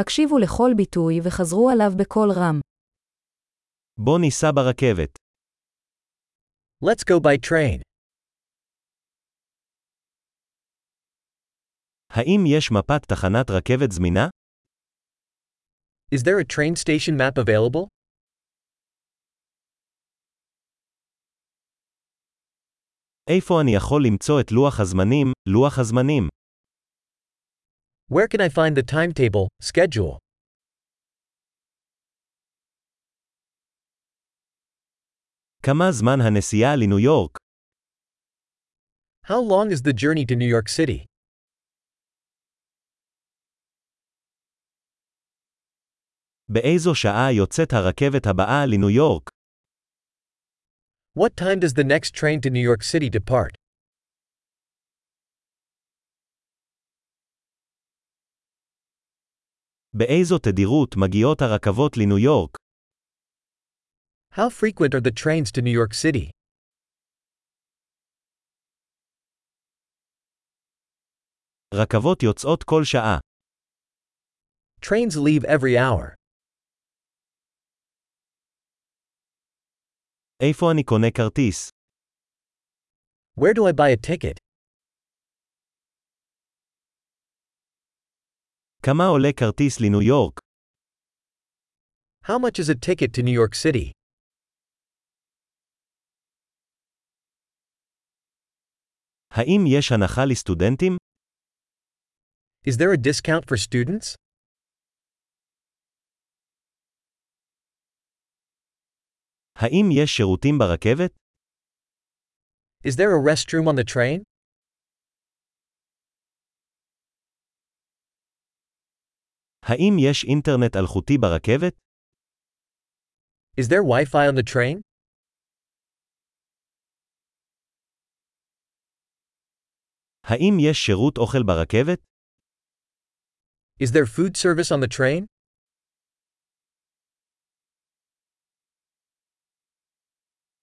הקשיבו לכל ביטוי וחזרו עליו בקול רם. בוא ניסע ברכבת. Let's go by train. האם יש מפת תחנת רכבת זמינה? Is there a train station map available? איפה אני יכול למצוא את לוח הזמנים, לוח הזמנים? Where can I find the timetable, schedule? כמה זמן הנסיעה לניו יורק? How long is the journey to New York City? באיזו שעה יוצאת הרכבת הבאה לניו יורק? What time does the next train to New York City depart? באיזו תדירות מגיעות הרכבות לניו יורק? How frequent are the trains to New York City? רכבות יוצאות כל שעה. Trains leave every hour. איפה אני קונה כרטיס? Where do I buy a ticket? כמה עולה כרטיס לניו יורק? How much is a ticket to New York City? האם יש הנחה לסטודנטים? Is there a discount for students? האם יש שירותים ברכבת? Is there a restroom on the train? האם יש אינטרנט אלחוטי ברכבת? Is there Wi Fi on the train? האם יש שירות אוכל ברכבת? Is there food service on the train?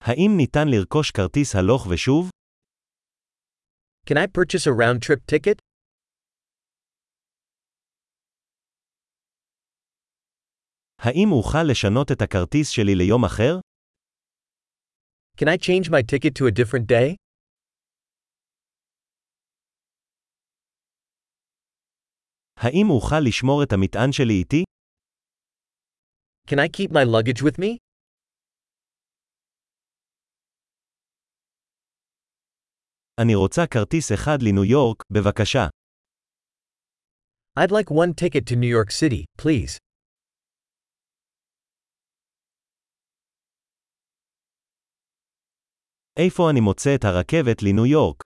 האם ניתן לרכוש כרטיס הלוך ושוב? Can I purchase a round trip ticket? האם אוכל לשנות את הכרטיס שלי ליום אחר? Can I change my ticket to a different day? האם אוכל לשמור את המטען שלי איתי? Can I keep my luggage with me? אני רוצה כרטיס אחד לניו יורק, בבקשה. I'd like one ticket to New York City, please. איפה אני מוצא את הרכבת לניו יורק?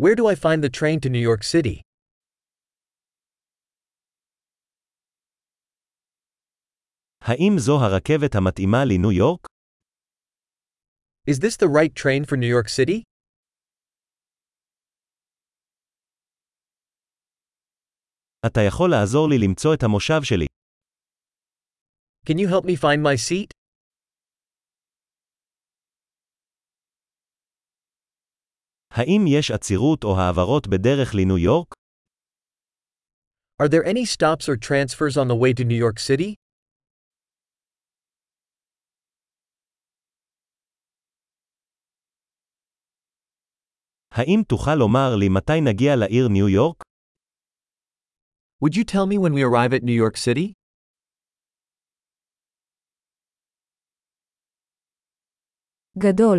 Where do I find the train to New York City? האם זו הרכבת המתאימה לניו יורק? Is this the right train for New York City? אתה יכול לעזור לי למצוא את המושב שלי. Can you help me find my seat? האם יש עצירות או העברות בדרך לניו יורק? Are there any stops or transfers on the way to New York City? האם תוכל לומר לי מתי נגיע לעיר ניו יורק? Would you tell me when we arrive at New York City? גדול,